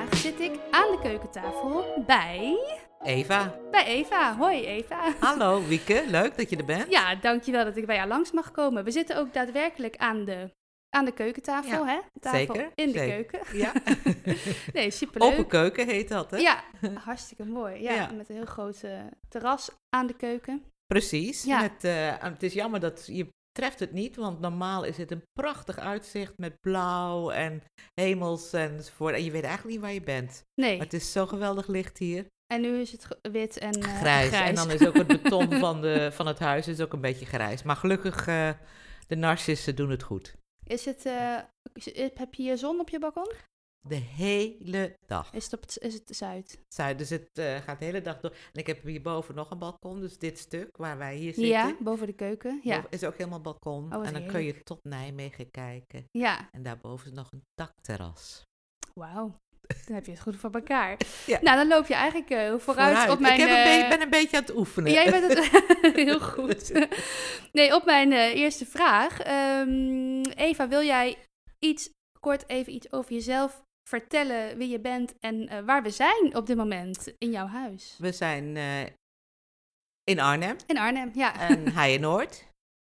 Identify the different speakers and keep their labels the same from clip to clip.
Speaker 1: aan de keukentafel bij...
Speaker 2: Eva.
Speaker 1: Bij Eva. Hoi Eva.
Speaker 2: Hallo Wieke, leuk dat je er bent.
Speaker 1: Ja, dankjewel dat ik bij jou langs mag komen. We zitten ook daadwerkelijk aan de, aan de keukentafel,
Speaker 2: Ja,
Speaker 1: hè? Tafel
Speaker 2: zeker,
Speaker 1: in de
Speaker 2: zeker.
Speaker 1: keuken.
Speaker 2: Ja.
Speaker 1: Nee, superleuk.
Speaker 2: Open keuken heet dat, hè?
Speaker 1: Ja, hartstikke mooi. Ja,
Speaker 2: Ja.
Speaker 1: met een heel groot eh, terras aan de keuken.
Speaker 2: Precies.
Speaker 1: Ja.
Speaker 2: Met, eh, het is jammer dat je treft het niet, want normaal is het een prachtig uitzicht met blauw en hemels enzovoort. En je weet eigenlijk niet waar je bent.
Speaker 1: Nee,
Speaker 2: Maar het is zo geweldig licht hier.
Speaker 1: en nu is het ge- wit en eh,
Speaker 2: Grijs. En dan is ook het beton van, de, van het huis is ook een beetje grijs. Maar gelukkig, eh, de narcissen doen het goed.
Speaker 1: Is het, eh, is- heb je hier zon op je balkon?
Speaker 2: De hele dag.
Speaker 1: Is het, op het, is het zuid?
Speaker 2: Zuid, Dus het eh, gaat de hele dag door. En ik heb hierboven nog een balkon. Dus dit stuk waar wij hier zitten.
Speaker 1: Ja, boven de keuken. Ja, Oh,
Speaker 2: boven- Is ook helemaal balkon. en
Speaker 1: wat
Speaker 2: dan kun je tot Nijmegen kijken.
Speaker 1: ja.
Speaker 2: En daarboven is nog een dakterras.
Speaker 1: wauw. Dan heb je het goed voor elkaar.
Speaker 2: Ja.
Speaker 1: Nou, dan loop je eigenlijk eh, vooruit, op mijn...
Speaker 2: ik heb een
Speaker 1: eh,
Speaker 2: beetje- ben een beetje aan het oefenen.
Speaker 1: Jij bent het heel goed. Nee, op mijn eh, eerste vraag. Ehm, Eva, wil jij iets kort even iets over jezelf vertellen, wie je bent en eh, waar we zijn op dit moment in jouw huis?
Speaker 2: We zijn eh, in Arnhem.
Speaker 1: In Arnhem, ja.
Speaker 2: en Haaien Noord.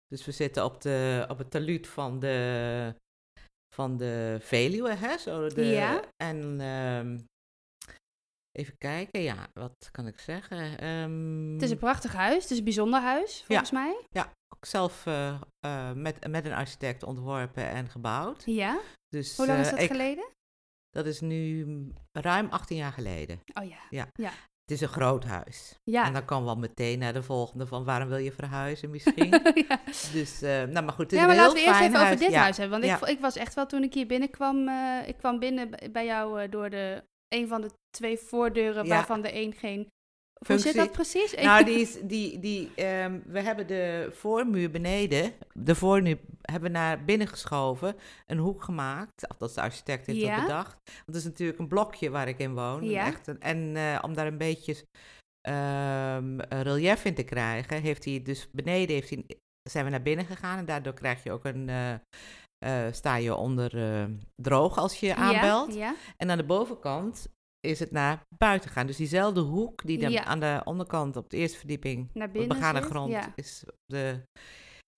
Speaker 2: Dus we zitten op, de, op het taluut van de, van de Veluwe, hè? Zo de,
Speaker 1: Ja.
Speaker 2: En ehm, even kijken, ja, wat kan ik zeggen? Ehm,
Speaker 1: het is een prachtig huis, het is een bijzonder huis, volgens mij.
Speaker 2: ook zelf eh, eh, met, met een architect ontworpen en gebouwd.
Speaker 1: Ja.
Speaker 2: Dus,
Speaker 1: Hoe lang is
Speaker 2: eh,
Speaker 1: dat
Speaker 2: ik-
Speaker 1: geleden?
Speaker 2: Dat is nu ruim 18 jaar geleden.
Speaker 1: Oh ja.
Speaker 2: Het is een groot huis. En
Speaker 1: Ja.
Speaker 2: dan kan wel meteen naar de volgende van waarom wil je verhuizen misschien.
Speaker 1: ja.
Speaker 2: dus, eh, nou maar goed, het is
Speaker 1: Ja, maar
Speaker 2: een heel
Speaker 1: laten we eerst
Speaker 2: fijn
Speaker 1: even
Speaker 2: huis.
Speaker 1: over dit
Speaker 2: Ja.
Speaker 1: huis hebben. Want
Speaker 2: Ja.
Speaker 1: ik, vo- ik was echt wel, toen ik hier binnenkwam, eh ik kwam binnen b- bij jou eh, door de, een van de twee voordeuren
Speaker 2: Ja.
Speaker 1: waarvan de een geen...
Speaker 2: Functie.
Speaker 1: Hoe zit dat precies? Eén-
Speaker 2: Nou, die is, die, die, ehm, we hebben de voormuur beneden, de voormuur hebben we naar binnen geschoven, een hoek gemaakt. Of dat is de architect heeft
Speaker 1: Ja.
Speaker 2: dat bedacht. Want het is natuurlijk een blokje waar ik in woon.
Speaker 1: Ja.
Speaker 2: Echt een- en eh, om daar een beetje ehm, een relief in te krijgen, heeft hij dus beneden heeft hij, zijn we naar binnen gegaan. En daardoor krijg je ook een, eh, eh, sta je onder eh, droog als je aanbelt.
Speaker 1: Ja, ja.
Speaker 2: En aan de bovenkant is het naar buiten gaan. Dus diezelfde hoek die dan
Speaker 1: Ja.
Speaker 2: aan de onderkant op de eerste verdieping,
Speaker 1: naar
Speaker 2: op de
Speaker 1: binnen.
Speaker 2: begane
Speaker 1: zit.
Speaker 2: grond,
Speaker 1: Ja.
Speaker 2: is op de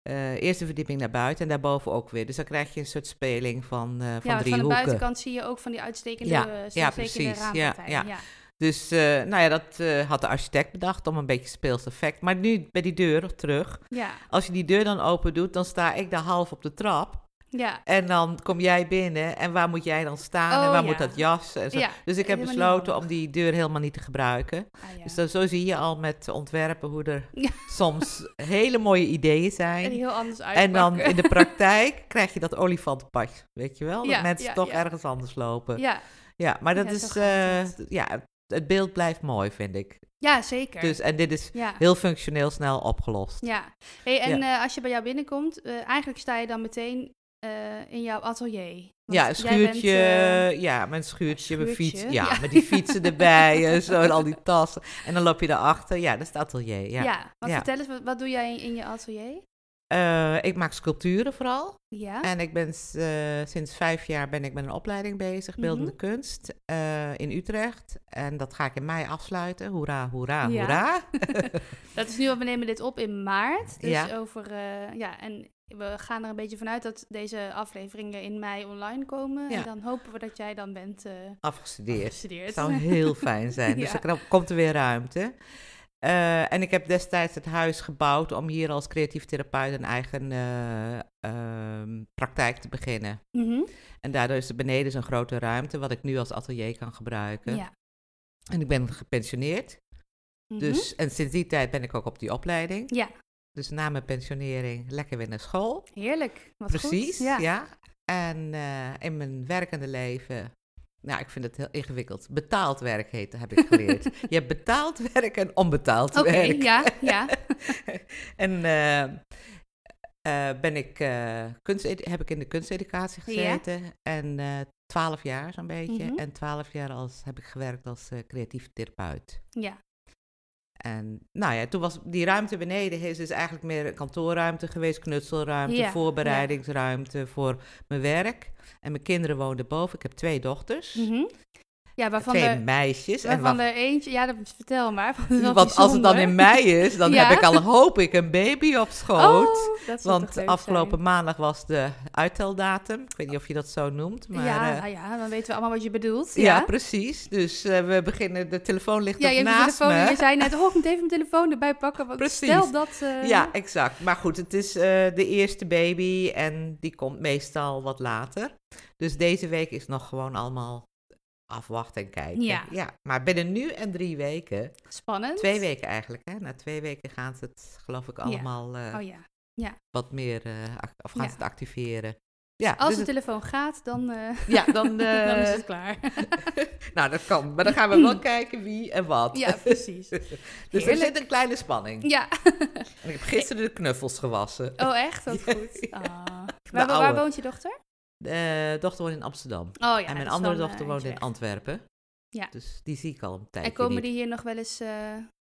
Speaker 2: eh, eerste verdieping naar buiten en daarboven ook weer. Dus dan krijg je een soort speling van, eh, van
Speaker 1: ja, want
Speaker 2: drie
Speaker 1: van de
Speaker 2: hoeken.
Speaker 1: buitenkant zie je ook van die uitstekende,
Speaker 2: Ja,
Speaker 1: eh,
Speaker 2: ja,
Speaker 1: uitstekende
Speaker 2: precies. Ja,
Speaker 1: raampartijen.
Speaker 2: ja. Dus eh, nou ja, dat eh, had de architect bedacht om een beetje speels effect. Maar nu bij die deur terug.
Speaker 1: ja,
Speaker 2: Als je die deur dan open doet, dan sta ik daar half op de trap.
Speaker 1: ja.
Speaker 2: En dan kom jij binnen. En waar moet jij dan staan? en
Speaker 1: Oh,
Speaker 2: waar
Speaker 1: ja.
Speaker 2: moet dat jas? En zo.
Speaker 1: Ja,
Speaker 2: Dus ik
Speaker 1: helemaal
Speaker 2: heb
Speaker 1: niet
Speaker 2: besloten
Speaker 1: handig.
Speaker 2: om die deur helemaal niet te gebruiken.
Speaker 1: Ah, ja.
Speaker 2: Dus dan, zo zie je al met ontwerpen hoe er
Speaker 1: Ja.
Speaker 2: soms hele mooie ideeën
Speaker 1: en die
Speaker 2: zijn.
Speaker 1: heel anders uit.
Speaker 2: En dan in de praktijk krijg je dat olifantenpad, weet je wel? Dat
Speaker 1: Ja,
Speaker 2: mensen
Speaker 1: ja,
Speaker 2: toch
Speaker 1: ja.
Speaker 2: ergens anders lopen. Ja,
Speaker 1: Ja,
Speaker 2: maar dat
Speaker 1: Ja, zo
Speaker 2: is,
Speaker 1: gaat
Speaker 2: eh, ja, het- het beeld blijft mooi, vind ik.
Speaker 1: ja, zeker.
Speaker 2: Dus, en dit is
Speaker 1: ja.
Speaker 2: heel functioneel snel opgelost.
Speaker 1: Ja, hey, en eh, als je bij jou binnenkomt, eh, eigenlijk sta je dan meteen eh, in jouw atelier. Want
Speaker 2: Ja,
Speaker 1: jij
Speaker 2: een
Speaker 1: bent,
Speaker 2: schuurtje,
Speaker 1: eh,
Speaker 2: ja, mijn schuurtje, mijn
Speaker 1: schuurtje,
Speaker 2: fiets, ja,
Speaker 1: ja.
Speaker 2: met die fietsen erbij en zo, en al die tassen. En dan loop je daarachter, ja, dat is het atelier,
Speaker 1: ja.
Speaker 2: ja.
Speaker 1: want
Speaker 2: ja.
Speaker 1: vertel eens, wat, wat doe jij in, in je atelier?
Speaker 2: Eh, ik maak sculpturen vooral.
Speaker 1: Ja,
Speaker 2: En ik ben s- eh, sinds vijf jaar ben ik met een opleiding bezig,
Speaker 1: Mhm.
Speaker 2: beeldende kunst, eh, in Utrecht. En dat ga ik in mei afsluiten. Hoera,
Speaker 1: Ja.
Speaker 2: hoera, hoera.
Speaker 1: dat is nu, we nemen dit op in maart. Dus
Speaker 2: Ja.
Speaker 1: over, eh, ja, en we gaan er een beetje vanuit dat deze afleveringen in mei online komen. En
Speaker 2: Ja.
Speaker 1: dan hopen we dat jij dan bent eh
Speaker 2: Afgestudeerd.
Speaker 1: gestudeerd. Mhm.
Speaker 2: Het zou heel fijn zijn. Dus
Speaker 1: Ja.
Speaker 2: er kno- komt er weer ruimte. Eh, en ik heb destijds het huis gebouwd om hier als creatief therapeut een eigen eh, ehm, praktijk te beginnen. En daardoor is er beneden zo'n grote ruimte, wat ik nu als atelier kan gebruiken.
Speaker 1: Ja.
Speaker 2: En ik ben gepensioneerd.
Speaker 1: Mhm.
Speaker 2: Dus, en sinds die tijd ben ik ook op die opleiding.
Speaker 1: Ja.
Speaker 2: Dus na mijn pensionering lekker weer naar school.
Speaker 1: Heerlijk, wat goed.
Speaker 2: Precies,
Speaker 1: Ja.
Speaker 2: ja. En eh, in mijn werkende leven, nou, ik vind het heel ingewikkeld. Betaald werk heet, heb ik geleerd. Je hebt betaald werk en onbetaald
Speaker 1: Oké,
Speaker 2: werk.
Speaker 1: ja, ja.
Speaker 2: En eh, eh, ben ik, eh, kunstede- heb ik in de kunsteducatie
Speaker 1: Ja.
Speaker 2: gezeten. En eh, twaalf jaar zo'n beetje.
Speaker 1: Mhm.
Speaker 2: En twaalf jaar als, heb ik gewerkt als eh, creatief therapeut.
Speaker 1: ja.
Speaker 2: En nou ja, toen was die ruimte beneden is dus eigenlijk meer een kantoorruimte geweest, knutselruimte,
Speaker 1: Ja,
Speaker 2: voorbereidingsruimte voor mijn werk. En mijn kinderen woonden boven. Ik heb twee dochters.
Speaker 1: Mhm. Ja, waarvan
Speaker 2: twee
Speaker 1: er,
Speaker 2: meisjes. En
Speaker 1: waarvan
Speaker 2: wacht-
Speaker 1: er eentje... Ja, dat vertel maar. Want, dat is wel
Speaker 2: want als het dan in
Speaker 1: bijzonder.
Speaker 2: mei is, dan
Speaker 1: Ja.
Speaker 2: heb ik al hoop ik een baby op schoot.
Speaker 1: Oh, dat zou toch
Speaker 2: Want
Speaker 1: leuk
Speaker 2: afgelopen
Speaker 1: zijn.
Speaker 2: maandag was de uitteldatum. Ik weet niet of je dat zo noemt, maar...
Speaker 1: ja,
Speaker 2: eh,
Speaker 1: nou ja, dan weten we allemaal wat je bedoelt.
Speaker 2: ja,
Speaker 1: Ja,
Speaker 2: precies. Dus eh, we beginnen, de telefoon ligt
Speaker 1: ja je
Speaker 2: nog
Speaker 1: hebt je
Speaker 2: naast
Speaker 1: telefoon. en
Speaker 2: me.
Speaker 1: Je zei net, oh, ik moet even mijn telefoon erbij pakken. Want
Speaker 2: Precies.
Speaker 1: stel dat... eh,
Speaker 2: Ja, exact. Maar goed, het is eh, de eerste baby en die komt meestal wat later. Dus deze week is nog gewoon allemaal afwachten en kijken.
Speaker 1: Ja.
Speaker 2: maar binnen nu en drie weken,
Speaker 1: Spannend.
Speaker 2: twee weken eigenlijk, hè? na twee weken gaat het geloof ik allemaal eh,
Speaker 1: Oh ja.
Speaker 2: wat meer, eh, ac- of gaan
Speaker 1: Ja.
Speaker 2: ze het activeren. Ja,
Speaker 1: Als
Speaker 2: dus
Speaker 1: de
Speaker 2: het-
Speaker 1: telefoon gaat, dan, eh,
Speaker 2: ja dan, eh,
Speaker 1: dan is het klaar.
Speaker 2: nou dat kan, maar dan gaan we wel kijken wie en wat.
Speaker 1: ja, precies.
Speaker 2: dus er
Speaker 1: heerlijk.
Speaker 2: zit een kleine spanning.
Speaker 1: Ja.
Speaker 2: En ik heb gisteren de knuffels gewassen.
Speaker 1: Oh, echt? Dat is
Speaker 2: Ja.
Speaker 1: goed. Ah. Waar, wo- waar
Speaker 2: oude.
Speaker 1: woont je dochter?
Speaker 2: De eh, dochter woont in Amsterdam.
Speaker 1: Oh ja. dat
Speaker 2: en mijn
Speaker 1: is
Speaker 2: andere
Speaker 1: dan, eh,
Speaker 2: dochter woont
Speaker 1: eentje
Speaker 2: in
Speaker 1: weg.
Speaker 2: Antwerpen.
Speaker 1: Ja.
Speaker 2: Dus die zie ik al een tijdje
Speaker 1: En komen
Speaker 2: niet.
Speaker 1: die hier nog wel eens eh,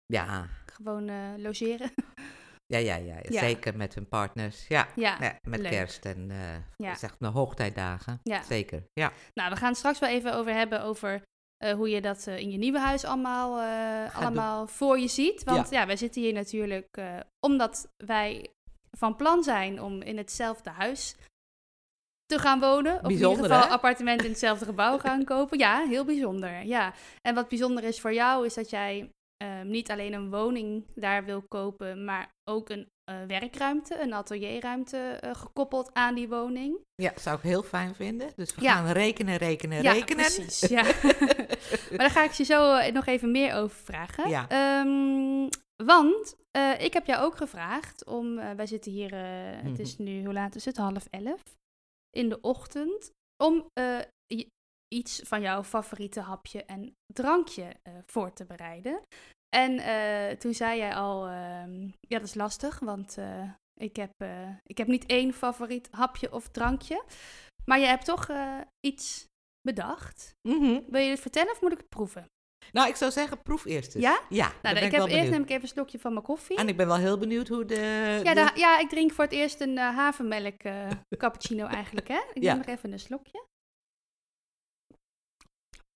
Speaker 2: Ja.
Speaker 1: gewoon eh, logeren?
Speaker 2: Ja, ja, ja,
Speaker 1: Ja.
Speaker 2: Zeker met hun partners. Ja.
Speaker 1: ja.
Speaker 2: Ja, met
Speaker 1: leuk.
Speaker 2: kerst en eh
Speaker 1: Ja.
Speaker 2: is echt de hoogtijdagen.
Speaker 1: Ja.
Speaker 2: Zeker. Ja.
Speaker 1: Nou, we gaan het straks wel even over hebben over eh, hoe je dat eh, in je nieuwe huis allemaal, eh, allemaal voor je ziet. Want ja, wij zitten hier natuurlijk eh, omdat wij van plan zijn om in hetzelfde huis te gaan wonen. Of in
Speaker 2: Bijzonder,
Speaker 1: ieder geval
Speaker 2: hè?
Speaker 1: appartementen in hetzelfde gebouw gaan kopen. Ja, heel bijzonder. Ja. En wat bijzonder is voor jou is dat jij eh, niet alleen een woning daar wil kopen, maar ook een eh, werkruimte, een atelierruimte eh, gekoppeld aan die woning.
Speaker 2: Ja, zou ik heel fijn vinden. Dus we
Speaker 1: Ja.
Speaker 2: gaan rekenen, rekenen,
Speaker 1: Ja,
Speaker 2: rekenen.
Speaker 1: precies. Ja. maar daar ga ik je zo eh, nog even meer over vragen.
Speaker 2: Ja.
Speaker 1: Ehm, want eh, ik heb jou ook gevraagd om. eh, wij zitten hier. eh, Het
Speaker 2: Mhm.
Speaker 1: is nu, hoe laat is het? Half elf in de ochtend. Om eh, i- iets van jouw favoriete hapje en drankje eh, voor te bereiden. En eh, toen zei jij al: ehm, Ja, dat is lastig, want. eh, ik heb, eh, ik heb niet één favoriet hapje of drankje. Maar je hebt toch eh, iets bedacht.
Speaker 2: Mhm.
Speaker 1: Wil je het vertellen of moet ik het proeven?
Speaker 2: Nou, ik zou zeggen, proef eerst eens.
Speaker 1: Ja?
Speaker 2: Ja, dan
Speaker 1: Nou,
Speaker 2: ben
Speaker 1: ik
Speaker 2: ik,
Speaker 1: heb
Speaker 2: wel
Speaker 1: eerst
Speaker 2: benieuwd.
Speaker 1: neem ik even een slokje van mijn koffie.
Speaker 2: En ik ben wel heel benieuwd hoe de...
Speaker 1: ja,
Speaker 2: de-
Speaker 1: daar- ja, ik drink voor het eerst een eh, havermelk eh, cappuccino eigenlijk, hè? Ik
Speaker 2: Ja.
Speaker 1: neem nog even een slokje.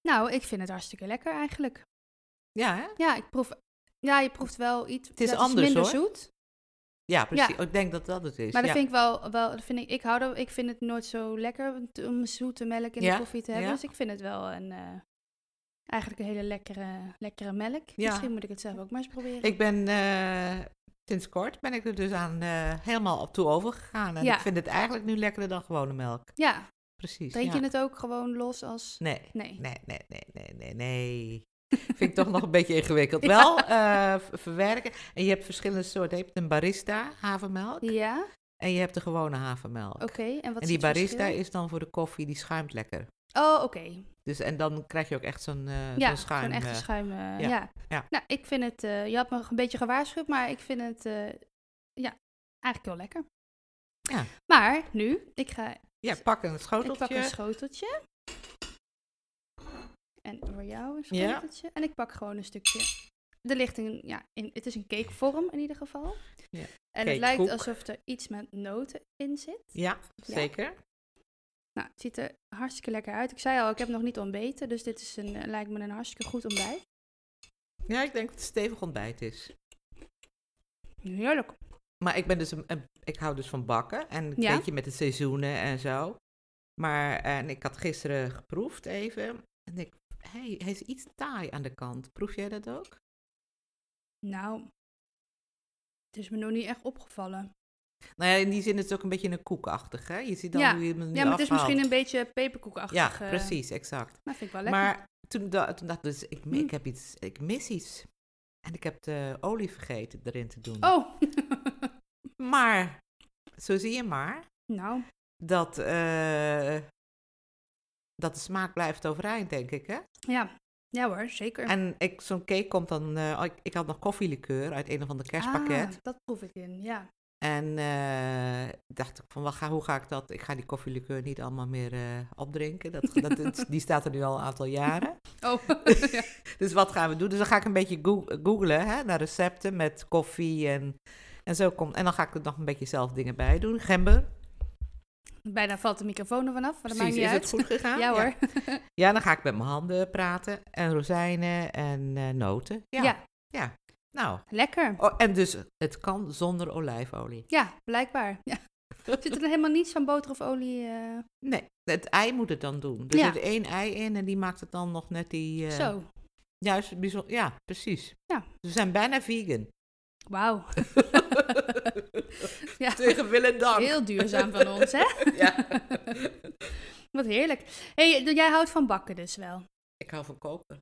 Speaker 1: Nou, ik vind het hartstikke lekker eigenlijk.
Speaker 2: ja, hè?
Speaker 1: Ja, ik proef... Ja, je proeft wel iets.
Speaker 2: is
Speaker 1: dat
Speaker 2: anders,
Speaker 1: minder
Speaker 2: hoor.
Speaker 1: zoet.
Speaker 2: ja, precies. Oh, ik denk dat dat het is.
Speaker 1: Maar dat
Speaker 2: ja.
Speaker 1: vind ik wel, wel dat vind ik, ik, hou er, ik vind het nooit zo lekker om t- om zoete melk in
Speaker 2: Ja,
Speaker 1: de koffie te hebben.
Speaker 2: ja.
Speaker 1: Dus ik vind het wel een, eh, eigenlijk een hele lekkere, lekkere melk.
Speaker 2: Ja.
Speaker 1: Misschien moet ik het zelf ook maar eens proberen.
Speaker 2: Ik ben eh, sinds kort ben ik er dus aan eh, helemaal op toe overgegaan. En
Speaker 1: Ja.
Speaker 2: ik vind het eigenlijk nu lekkerder dan gewone melk.
Speaker 1: ja,
Speaker 2: Precies.
Speaker 1: drink
Speaker 2: ja.
Speaker 1: je het ook gewoon los als...
Speaker 2: Nee,
Speaker 1: Nee.
Speaker 2: nee, nee, nee, nee, nee, nee. vind ik toch nog een beetje ingewikkeld. Wel eh, v- verwerken. En je hebt verschillende soorten. Je hebt een barista havermelk
Speaker 1: Ja,
Speaker 2: en je hebt de gewone havermelk.
Speaker 1: oké. En wat is
Speaker 2: en die
Speaker 1: het
Speaker 2: barista
Speaker 1: verschil?
Speaker 2: is dan voor de koffie, die schuimt lekker.
Speaker 1: Oh, oké.
Speaker 2: Dus, en dan krijg je ook echt zo'n eh
Speaker 1: Ja,
Speaker 2: zo'n schuim.
Speaker 1: gewoon echt
Speaker 2: eh,
Speaker 1: een schuim. eh, ja.
Speaker 2: ja, ja.
Speaker 1: Nou, ik vind het... eh, je had me een beetje gewaarschuwd, maar ik vind het... eh, ja, eigenlijk heel lekker.
Speaker 2: Ja.
Speaker 1: Maar nu, ik ga
Speaker 2: ja, pak een
Speaker 1: Ik
Speaker 2: schoteltje.
Speaker 1: pak een schoteltje. En voor jou een
Speaker 2: Ja.
Speaker 1: schoteltje. En ik pak gewoon een stukje. Er ligt een, ja, in, het is een cakevorm in ieder geval.
Speaker 2: Ja,
Speaker 1: En het lijkt
Speaker 2: cakekoek.
Speaker 1: alsof er iets met noten in zit.
Speaker 2: ja,
Speaker 1: Ja.
Speaker 2: zeker.
Speaker 1: Nou, het ziet er hartstikke lekker uit. Ik zei al, ik heb nog niet ontbeten, dus dit is een, eh, lijkt me een hartstikke goed ontbijt.
Speaker 2: Ja, ik denk dat het stevig ontbijt is.
Speaker 1: Heerlijk.
Speaker 2: Maar ik ben dus een, een- ik hou dus van bakken en een
Speaker 1: Ja.
Speaker 2: beetje met de seizoenen en zo. Maar eh, en ik had gisteren geproefd even en ik, hey, hij is iets taai aan de kant. Proef jij dat ook?
Speaker 1: Nou, het is me nog niet echt opgevallen.
Speaker 2: Nou ja, in die zin is het ook een beetje een koekachtig, hè? Je ziet dan
Speaker 1: Ja.
Speaker 2: hoe je hem nu
Speaker 1: ja, maar het is
Speaker 2: afhaalt.
Speaker 1: misschien een beetje peperkoekachtig.
Speaker 2: Ja,
Speaker 1: eh,
Speaker 2: precies, exact.
Speaker 1: Maar vind ik wel lekker.
Speaker 2: Maar toen, da- toen dacht ik dus, ik, mi-
Speaker 1: Mm.
Speaker 2: ik heb iets, ik mis iets. En ik heb de olie vergeten erin te doen.
Speaker 1: Oh,
Speaker 2: Maar, zo zie je maar,
Speaker 1: nou,
Speaker 2: dat, eh, dat de smaak blijft overeind, denk ik, hè?
Speaker 1: ja. Ja hoor, zeker.
Speaker 2: En ik, zo'n cake komt dan. eh, oh, ik, ik had nog koffielikeur uit een of ander kerstpakket.
Speaker 1: Ah, dat proef ik in, ja.
Speaker 2: En eh, dacht ik van, wat ga, hoe ga ik dat? Ik ga die koffielikeur niet allemaal meer eh, opdrinken. Dat, dat, het- die staat er nu al een aantal jaren.
Speaker 1: Oh, ja.
Speaker 2: Dus wat gaan we doen? Dus dan ga ik een beetje goo- googlen hè, naar recepten met koffie en, en zo komt. En dan ga ik er nog een beetje zelf dingen bij doen. Gember.
Speaker 1: Bijna valt de microfoon er vanaf, maar dat maakt
Speaker 2: Precies,
Speaker 1: niet
Speaker 2: is
Speaker 1: uit.
Speaker 2: het goed gegaan?
Speaker 1: Ja hoor.
Speaker 2: Ja, dan ga ik met mijn handen praten en rozijnen en eh, noten. Ja.
Speaker 1: Ja.
Speaker 2: Nou,
Speaker 1: Lekker.
Speaker 2: oh, en dus het kan zonder olijfolie.
Speaker 1: Ja, blijkbaar. Ja. Zit er helemaal niets van boter of olie? eh,
Speaker 2: Nee, het ei moet het dan doen. Er
Speaker 1: Ja.
Speaker 2: zit één ei in en die maakt het dan nog net die... eh,
Speaker 1: Zo.
Speaker 2: Juist, bijzonder. Ja, precies.
Speaker 1: Ja.
Speaker 2: Ze zijn bijna vegan.
Speaker 1: Wauw. ja.
Speaker 2: Tegen wil en dank.
Speaker 1: Heel duurzaam van ons, hè?
Speaker 2: Ja.
Speaker 1: Wat heerlijk. hey, d- jij houdt van bakken dus wel.
Speaker 2: Ik hou van koken.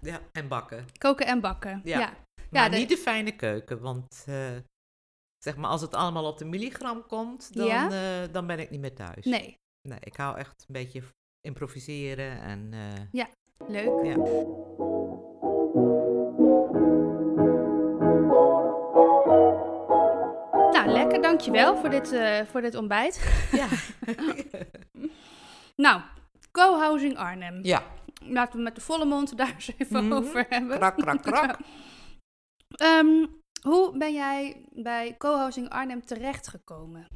Speaker 2: Ja, en bakken.
Speaker 1: Koken en bakken.
Speaker 2: Ja.
Speaker 1: Ja.
Speaker 2: Maar
Speaker 1: de-
Speaker 2: niet de fijne keuken, want eh, zeg maar als het allemaal op de milligram komt, dan,
Speaker 1: Ja?
Speaker 2: eh, dan ben ik niet meer thuis.
Speaker 1: Nee,
Speaker 2: Nee, ik hou echt een beetje v- improviseren en... eh,
Speaker 1: leuk.
Speaker 2: Ja.
Speaker 1: Nou, lekker. Dankjewel voor dit, eh, voor dit ontbijt.
Speaker 2: ja. eh,
Speaker 1: Nou, co-housing Arnhem.
Speaker 2: ja,
Speaker 1: Laten we met de volle mond daar eens even
Speaker 2: Mhm.
Speaker 1: over hebben.
Speaker 2: krak, krak, krak.
Speaker 1: Ehm, hoe ben jij bij co-housing Arnhem terechtgekomen?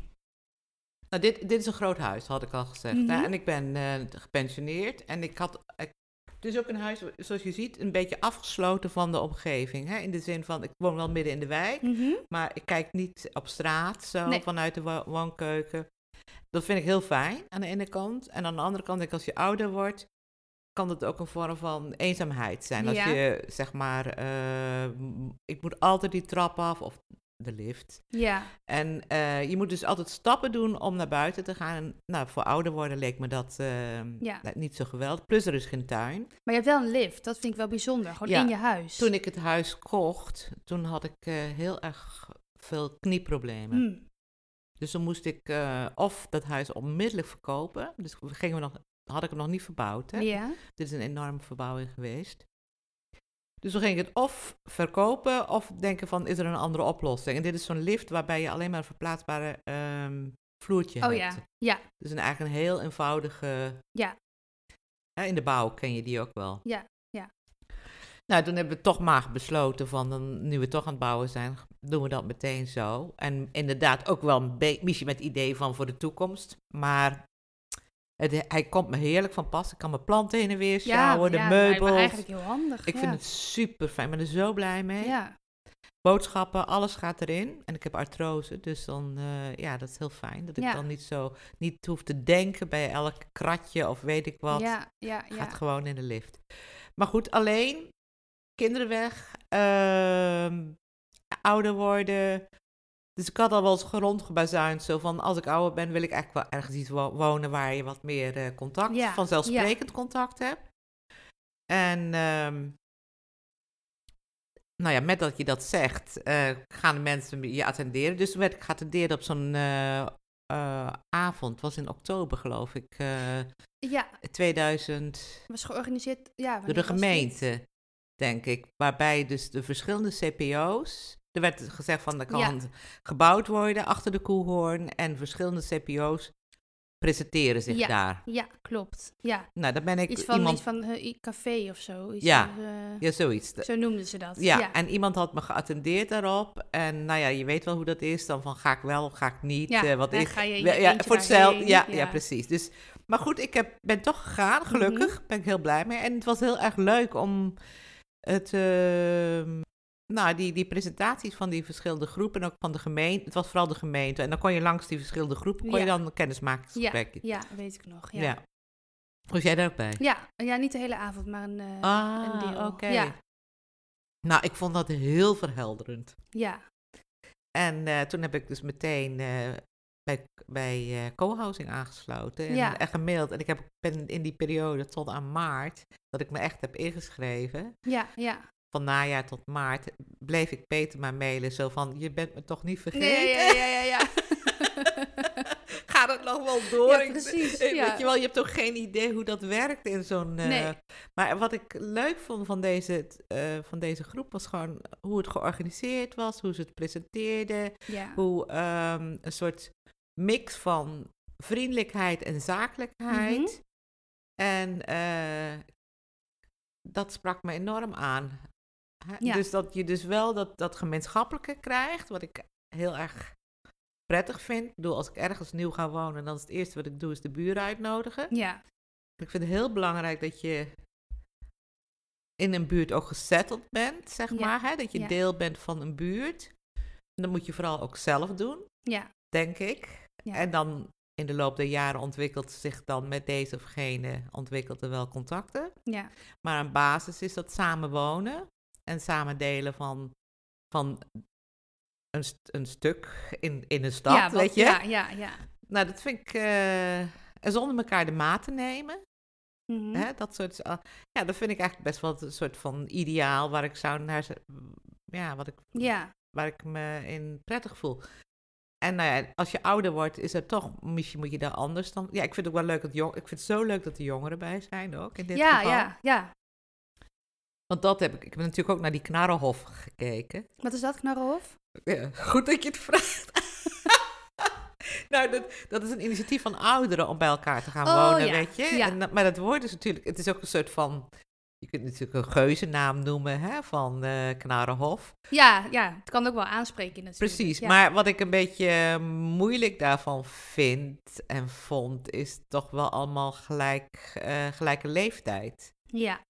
Speaker 2: Nou, dit, dit is een groot huis, had ik al gezegd.
Speaker 1: Mhm.
Speaker 2: hè? En ik ben eh, gepensioneerd en ik had... ik- het is ook een huis, zoals je ziet, een beetje afgesloten van de omgeving. Hè? In de zin van, ik woon wel midden in de wijk, Maar ik kijk niet op straat zo
Speaker 1: Nee.
Speaker 2: vanuit de wo- woonkeuken. Dat vind ik heel fijn aan de ene kant. En aan de andere kant, denk ik, als je ouder wordt, kan dat ook een vorm van eenzaamheid zijn. Als
Speaker 1: Ja.
Speaker 2: je zeg maar, eh, m- ik moet altijd die trap af of de lift.
Speaker 1: Ja,
Speaker 2: En eh, je moet dus altijd stappen doen om naar buiten te gaan. En, nou, voor ouder worden leek me dat eh,
Speaker 1: Ja.
Speaker 2: nou, niet zo geweldig. Plus er is geen tuin.
Speaker 1: maar je hebt wel een lift. Dat vind ik wel bijzonder. Gewoon
Speaker 2: Ja,
Speaker 1: in je huis.
Speaker 2: Toen ik het huis kocht, toen had ik eh, heel erg veel knieproblemen.
Speaker 1: Hmm.
Speaker 2: Dus dan moest ik eh, of dat huis onmiddellijk verkopen. Dus we gingen we nog, had ik hem nog niet verbouwd. Hè?
Speaker 1: Ja.
Speaker 2: Dit is een enorme verbouwing geweest. Dus we gingen het of verkopen of denken van is er een andere oplossing. En dit is zo'n lift waarbij je alleen maar een verplaatsbare ehm, vloertje
Speaker 1: Oh
Speaker 2: hebt.
Speaker 1: ja. Ja,
Speaker 2: Dus een, eigenlijk een heel eenvoudige...
Speaker 1: Ja.
Speaker 2: Hè, in de bouw ken je die ook wel.
Speaker 1: Ja, ja.
Speaker 2: Nou, toen hebben we toch maar besloten van, dan, nu we toch aan het bouwen zijn, doen we dat meteen zo. En inderdaad ook wel een be- misschien met het idee van voor de toekomst. Maar het, hij komt me heerlijk van pas. Ik kan mijn planten heen en weer
Speaker 1: ja, ja,
Speaker 2: sjouwen, de
Speaker 1: maar- maar
Speaker 2: meubels.
Speaker 1: eigenlijk heel handig.
Speaker 2: Ik
Speaker 1: ja.
Speaker 2: vind het super fijn. Ik ben er zo blij mee.
Speaker 1: Ja.
Speaker 2: Boodschappen, alles gaat erin. En ik heb artrose, dus dan, eh, ja, dat is heel fijn. Dat ik
Speaker 1: Ja.
Speaker 2: dan niet zo, niet hoef te denken bij elk kratje of weet ik wat.
Speaker 1: Ja, ja, ja.
Speaker 2: Gaat gewoon in de lift. Maar goed, alleen kinderen weg, ehm, ouder worden. Dus ik had al wel eens rondgebazuind zo van als ik ouder ben wil ik eigenlijk wel ergens iets wo- wonen waar je wat meer eh, contact,
Speaker 1: Ja,
Speaker 2: vanzelfsprekend contact hebt. En ehm, nou ja, met dat je dat zegt, eh, gaan de mensen je attenderen. Dus toen werd ik geattendeerd op zo'n eh, eh, avond, het was in oktober geloof ik, eh,
Speaker 1: ja,
Speaker 2: 2000
Speaker 1: was georganiseerd ja, wanneer
Speaker 2: door de
Speaker 1: was dit?
Speaker 2: gemeente, denk ik. Waarbij dus de verschillende CPO's. Er werd gezegd van er kan gebouwd worden achter de koehoorn. En verschillende CPO's presenteren zich
Speaker 1: Ja.
Speaker 2: daar.
Speaker 1: Ja, klopt. Ja,
Speaker 2: Nou, daar ben ik
Speaker 1: iets van,
Speaker 2: iemand.
Speaker 1: iets van eh, i- café of zo. Iets
Speaker 2: Ja.
Speaker 1: van, eh,
Speaker 2: Ja, zoiets. De-
Speaker 1: Zo noemden ze dat.
Speaker 2: Ja,
Speaker 1: ja.
Speaker 2: en iemand had me geattendeerd daarop. En nou ja, je weet wel hoe dat is. Dan van ga ik wel of ga ik niet.
Speaker 1: Ja,
Speaker 2: eh, wat
Speaker 1: dan
Speaker 2: ik,
Speaker 1: ga je in
Speaker 2: wel-
Speaker 1: je
Speaker 2: ja,
Speaker 1: eentje
Speaker 2: voor hetzelfde.
Speaker 1: daarheen,
Speaker 2: Ja,
Speaker 1: ja.
Speaker 2: ja. precies. Dus, maar goed, ik heb, ben toch gegaan, gelukkig.
Speaker 1: Mhm.
Speaker 2: Ben ik heel blij mee. En het was heel erg leuk om het. ehm, nou, die, die presentaties van die verschillende groepen en ook van de gemeente. Het was vooral de gemeente. En dan kon je langs die verschillende groepen kon je
Speaker 1: Ja.
Speaker 2: dan een kennismakingsgesprek.
Speaker 1: Ja, weet ik nog. Ja.
Speaker 2: Ja. Was jij daar ook bij?
Speaker 1: Ja, ja, niet de hele avond, maar een... eh,
Speaker 2: Ah,
Speaker 1: een deel.
Speaker 2: oké.
Speaker 1: Ja.
Speaker 2: Nou, ik vond dat heel verhelderend.
Speaker 1: ja.
Speaker 2: En eh, toen heb ik dus meteen eh, bij, bij eh, co-housing aangesloten en,
Speaker 1: Ja.
Speaker 2: en gemaild. En ik heb, ben in die periode tot aan maart, dat ik me echt heb ingeschreven,
Speaker 1: Ja, ja.
Speaker 2: van najaar tot maart, bleef ik Peter maar mailen. Zo van, je bent me toch niet vergeten?
Speaker 1: Nee, ja, ja, ja, ja.
Speaker 2: Gaat het nog wel door?
Speaker 1: Ja,
Speaker 2: Ik-
Speaker 1: precies,
Speaker 2: eh,
Speaker 1: ja.
Speaker 2: Weet je wel, je hebt toch geen idee hoe dat werkt in zo'n... eh,
Speaker 1: Nee.
Speaker 2: Maar wat ik leuk vond van deze, eh, van deze groep was gewoon hoe het georganiseerd was, hoe ze het presenteerden
Speaker 1: ja.
Speaker 2: hoe ehm, een soort mix van vriendelijkheid en zakelijkheid.
Speaker 1: Mhm.
Speaker 2: En eh, dat sprak me enorm aan. Hè,
Speaker 1: Ja.
Speaker 2: Dus dat je dus wel dat, dat gemeenschappelijke krijgt, wat ik heel erg prettig vind. Ik bedoel, als ik ergens nieuw ga wonen, dan is het eerste wat ik doe, is de buren uitnodigen.
Speaker 1: Ja.
Speaker 2: Ik vind het heel belangrijk dat je in een buurt ook gezetteld bent, zeg
Speaker 1: Ja,
Speaker 2: maar. Hè? Dat je
Speaker 1: ja.
Speaker 2: deel bent van een buurt. En dat moet je vooral ook zelf doen,
Speaker 1: Ja.
Speaker 2: denk ik.
Speaker 1: Ja.
Speaker 2: En dan in de loop der jaren ontwikkelt zich dan met deze of gene ontwikkelt er wel contacten.
Speaker 1: Ja.
Speaker 2: Maar een basis is dat samen wonen en samen delen van, van een, st- een stuk in, in een stad,
Speaker 1: ja, wat-
Speaker 2: weet je.
Speaker 1: Ja, ja, ja.
Speaker 2: Nou, dat vind ik... eh, en zonder elkaar de maat te nemen.
Speaker 1: Mhm.
Speaker 2: Hè, dat soort, ah, ja, dat vind ik eigenlijk best wel een soort van ideaal waar ik zou naar, z- ja, wat ik,
Speaker 1: Ja.
Speaker 2: waar ik me in prettig voel. En nou ja, als je ouder wordt, is het toch, misschien moet je daar anders dan. Ja, ik vind het ook wel leuk dat jong, ik vind het zo leuk dat de jongeren bij zijn ook in dit
Speaker 1: Ja,
Speaker 2: geval.
Speaker 1: ja, ja.
Speaker 2: Want dat heb ik, ik heb natuurlijk ook naar die Knarrenhof gekeken.
Speaker 1: Wat is dat, Knarrenhof?
Speaker 2: Ja, goed dat je het vraagt. nou, dat, dat is een initiatief van ouderen om bij elkaar te gaan
Speaker 1: Oh,
Speaker 2: wonen,
Speaker 1: ja,
Speaker 2: weet je.
Speaker 1: ja.
Speaker 2: En dat- maar dat woord is natuurlijk, het is ook een soort van, je kunt het natuurlijk een geuzennaam noemen, hè, van eh Knarenhof.
Speaker 1: Ja, ja. Het kan ook wel aanspreken natuurlijk.
Speaker 2: Precies,
Speaker 1: Ja.
Speaker 2: maar wat ik een beetje eh, moeilijk daarvan vind en vond, is toch wel allemaal gelijk, eh, gelijke leeftijd.
Speaker 1: Ja.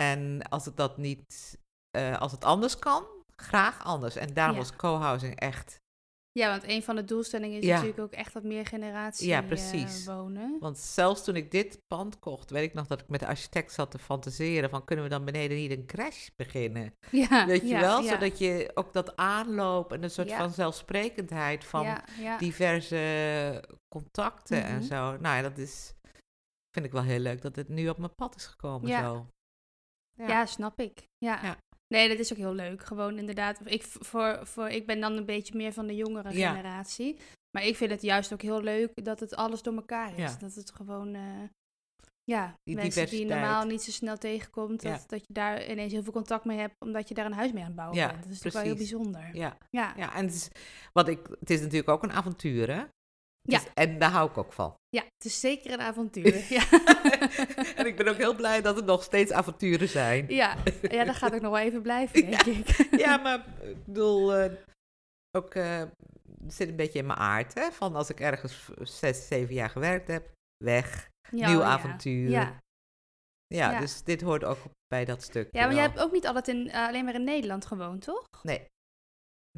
Speaker 2: En als het dat niet, eh, als het anders kan, graag anders. En daarom
Speaker 1: Ja.
Speaker 2: was co-housing echt
Speaker 1: ja, want een van de doelstellingen is
Speaker 2: Ja.
Speaker 1: natuurlijk ook echt dat meer generatie
Speaker 2: Ja,
Speaker 1: eh,
Speaker 2: precies.
Speaker 1: wonen.
Speaker 2: Want zelfs toen ik dit pand kocht, weet ik nog dat ik met de architect zat te fantaseren van kunnen we dan beneden niet een crash beginnen?
Speaker 1: Ja,
Speaker 2: Weet je
Speaker 1: ja,
Speaker 2: wel?
Speaker 1: ja.
Speaker 2: Zodat je ook dat aanloop en een soort
Speaker 1: Ja.
Speaker 2: van zelfsprekendheid van
Speaker 1: ja, ja.
Speaker 2: diverse contacten en
Speaker 1: Ah. Mhm.
Speaker 2: zo. Nou ja, dat is, vind ik wel heel leuk dat het nu op mijn pad is gekomen
Speaker 1: Ja.
Speaker 2: zo.
Speaker 1: Ja.
Speaker 2: Ja.
Speaker 1: snap ik. Ja.
Speaker 2: Ja.
Speaker 1: Nee, dat is ook heel leuk. Gewoon inderdaad. Ik, v- voor, voor, ik ben dan een beetje meer van de jongere
Speaker 2: Ja.
Speaker 1: generatie. Maar ik vind het juist ook heel leuk dat het alles door elkaar is.
Speaker 2: Ja.
Speaker 1: Dat het gewoon. eh, ja,
Speaker 2: Die
Speaker 1: mensen die je
Speaker 2: diversiteit.
Speaker 1: normaal niet zo snel tegenkomt.
Speaker 2: Ja.
Speaker 1: Dat, dat je daar ineens heel veel contact mee hebt. Omdat je daar een huis mee aan het bouwen
Speaker 2: Ja,
Speaker 1: bent. Dat is natuurlijk wel heel
Speaker 2: precies.
Speaker 1: bijzonder. Ja.
Speaker 2: Ja,
Speaker 1: Ja.
Speaker 2: ja en het is, wat ik, het is natuurlijk ook een avontuur, hè? Het
Speaker 1: Ja.
Speaker 2: is- en daar hou ik ook van.
Speaker 1: het is zeker een avontuur. ja.
Speaker 2: en ik ben ook heel blij dat er nog steeds avonturen zijn.
Speaker 1: ja. ja, dat gaat ook nog wel even blijven, denk ik.
Speaker 2: Ja, maar ik bedoel, eh, ook eh, het zit een beetje in mijn aard, hè? Van als ik ergens v- zes, zeven jaar gewerkt heb, weg,
Speaker 1: Ja,
Speaker 2: nieuw
Speaker 1: oh ja.
Speaker 2: avontuur.
Speaker 1: Ja.
Speaker 2: Ja.
Speaker 1: Ja.
Speaker 2: dus dit hoort ook bij dat stuk.
Speaker 1: Ja, maar jij hebt ook niet altijd in, eh, alleen maar in Nederland gewoond, toch?
Speaker 2: Nee.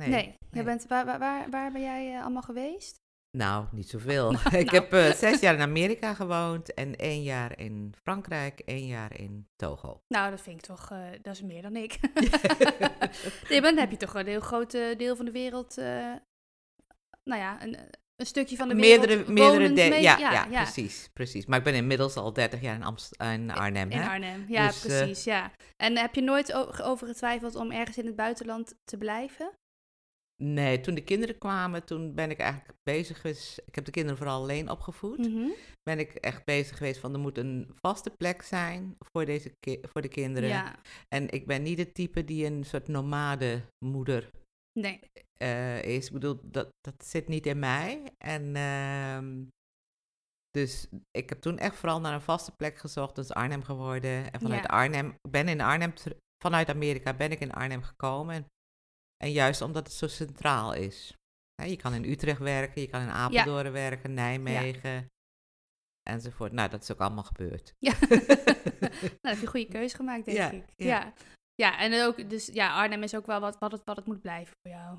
Speaker 2: Nee.
Speaker 1: Nee. Jij bent, waar, waar- waar, waar ben jij eh, allemaal geweest?
Speaker 2: Nou, niet zoveel. ik
Speaker 1: nou.
Speaker 2: heb eh, zes jaar in Amerika gewoond en één jaar in Frankrijk, één jaar in Togo.
Speaker 1: Nou, dat vind ik toch, eh, dat is meer dan ik. nee, maar dan heb je toch wel een heel groot eh, deel van de wereld, eh, nou ja, een, een stukje van de wereld
Speaker 2: meerdere
Speaker 1: wonend
Speaker 2: meerdere de-
Speaker 1: mee-
Speaker 2: ja, ja, precies, precies. Maar ik ben inmiddels al 30 jaar in, Amst- in Arnhem.
Speaker 1: In
Speaker 2: hè?
Speaker 1: Arnhem, ja,
Speaker 2: Dus, eh,
Speaker 1: precies, ja. En heb je nooit o- over getwijfeld om ergens in het buitenland te blijven?
Speaker 2: Nee, toen de kinderen kwamen, toen ben ik eigenlijk bezig geweest. Ik heb de kinderen vooral alleen opgevoed.
Speaker 1: Mhm.
Speaker 2: Ben ik echt bezig geweest van er moet een vaste plek zijn voor, deze ki- voor de kinderen.
Speaker 1: Ja,
Speaker 2: En ik ben niet het type die een soort nomade moeder
Speaker 1: nee.
Speaker 2: eh, is. Ik bedoel, dat, dat zit niet in mij. En ehm, dus ik heb toen echt vooral naar een vaste plek gezocht. Dat is Arnhem geworden. En vanuit
Speaker 1: Ja.
Speaker 2: Arnhem, ik ben in Arnhem, ter- vanuit Amerika ben ik in Arnhem gekomen. En, en juist omdat het zo centraal is. Hè, je kan in Utrecht werken, je kan in Apeldoorn werken, Nijmegen. Enzovoort. Nou, dat is ook allemaal gebeurd.
Speaker 1: Ja. nou, dan heb je een goede keuze gemaakt, denk
Speaker 2: Ja,
Speaker 1: ik.
Speaker 2: ja.
Speaker 1: Ja. ja. en ook, dus ja, Arnhem is ook wel wat, wat, het, wat het moet blijven voor jou.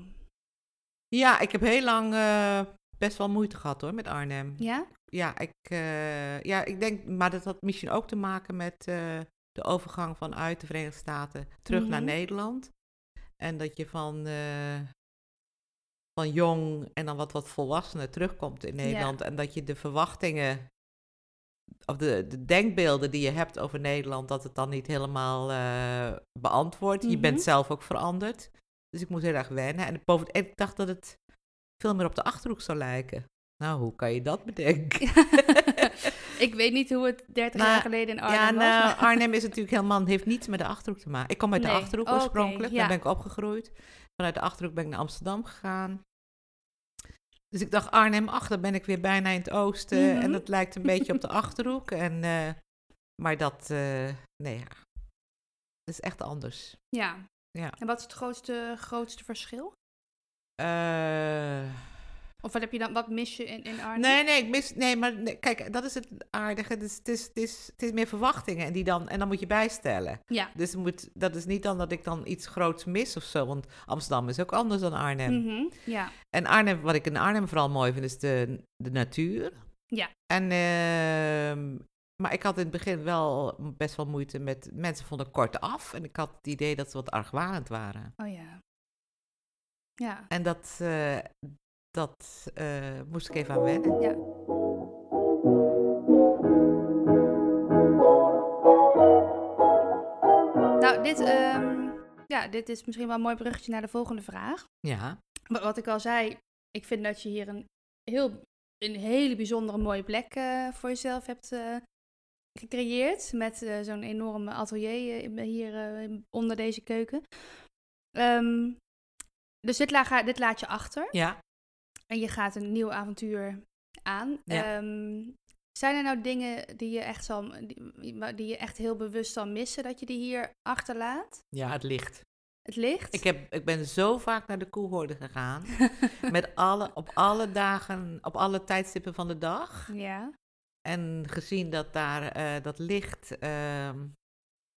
Speaker 2: Ja, ik heb heel lang eh, best wel moeite gehad hoor met Arnhem.
Speaker 1: Ja?
Speaker 2: ja, ik, eh, ja, ik denk, maar dat had misschien ook te maken met eh, de overgang vanuit de Verenigde Staten terug naar
Speaker 1: Mhm.
Speaker 2: Nederland. En dat je van, eh, van jong en dan wat, wat volwassenen terugkomt in Nederland. En dat je de verwachtingen, of de, de denkbeelden die je hebt over Nederland, dat het dan niet helemaal eh beantwoordt. Je bent
Speaker 1: Mhm.
Speaker 2: zelf ook veranderd. Dus ik moest heel erg wennen. En, boven, en ik dacht dat het veel meer op de Achterhoek zou lijken. Nou, hoe kan je dat bedenken?
Speaker 1: ik weet niet hoe het 30
Speaker 2: Maar-
Speaker 1: jaar geleden in Arnhem
Speaker 2: ja, nou,
Speaker 1: was. maar-
Speaker 2: Arnhem is natuurlijk helemaal, heeft niets met de Achterhoek te maken. Ik kom uit de
Speaker 1: Nee.
Speaker 2: Achterhoek
Speaker 1: Oh, oké,
Speaker 2: oorspronkelijk,
Speaker 1: ja.
Speaker 2: daar ben ik opgegroeid. Vanuit de Achterhoek ben ik naar Amsterdam gegaan. Dus ik dacht, Arnhem-Acht, dan ben ik weer bijna in het oosten.
Speaker 1: Mhm.
Speaker 2: En dat lijkt een beetje op de Achterhoek. En, eh, maar dat, eh, nee ja, dat is echt anders.
Speaker 1: ja.
Speaker 2: Ja.
Speaker 1: En wat is het grootste, grootste verschil? Of wat, heb je dan, wat mis je in, in Arnhem?
Speaker 2: Eh, Nee, nee, ik mis, nee, maar nee, kijk, dat is het aardige. Dus het, is, het, is, het is meer verwachtingen en, die dan, en dan moet je bijstellen.
Speaker 1: Ja.
Speaker 2: Dus het moet, dat is niet dan dat ik dan iets groots mis of zo, want Amsterdam is ook anders dan Arnhem.
Speaker 1: Mhm, Ja.
Speaker 2: En Arnhem, wat ik in Arnhem vooral mooi vind, is de, de natuur.
Speaker 1: Ja.
Speaker 2: En, ehm, maar ik had in het begin wel best wel moeite met, mensen vonden kort af en ik had het idee dat ze wat argwanend waren.
Speaker 1: Oh ja. Ja.
Speaker 2: En dat, eh, dat eh, moest ik even aan wennen.
Speaker 1: Ja. Nou, dit, ehm, ja, dit is misschien wel een mooi bruggetje naar de volgende vraag.
Speaker 2: Ja.
Speaker 1: Wa- Wat ik al zei, ik vind dat je hier een, heel, een hele bijzondere mooie plek eh, voor jezelf hebt eh, gecreëerd. Met eh, zo'n enorm atelier eh, in- hier eh, in- onder deze keuken. Ehm, dus dit, la- ga- dit laat je achter
Speaker 2: Ja.
Speaker 1: en je gaat een nieuw avontuur aan.
Speaker 2: Ja.
Speaker 1: Ehm, zijn er nou dingen die je, echt zal, die, die je echt heel bewust zal missen, dat je die hier achterlaat?
Speaker 2: Ja, het licht.
Speaker 1: Het licht?
Speaker 2: Ik, heb, ik ben zo vaak naar de koehoorde gegaan. met alle, op alle dagen, op alle tijdstippen van de dag.
Speaker 1: Ja.
Speaker 2: En gezien dat daar eh, dat licht, ehm,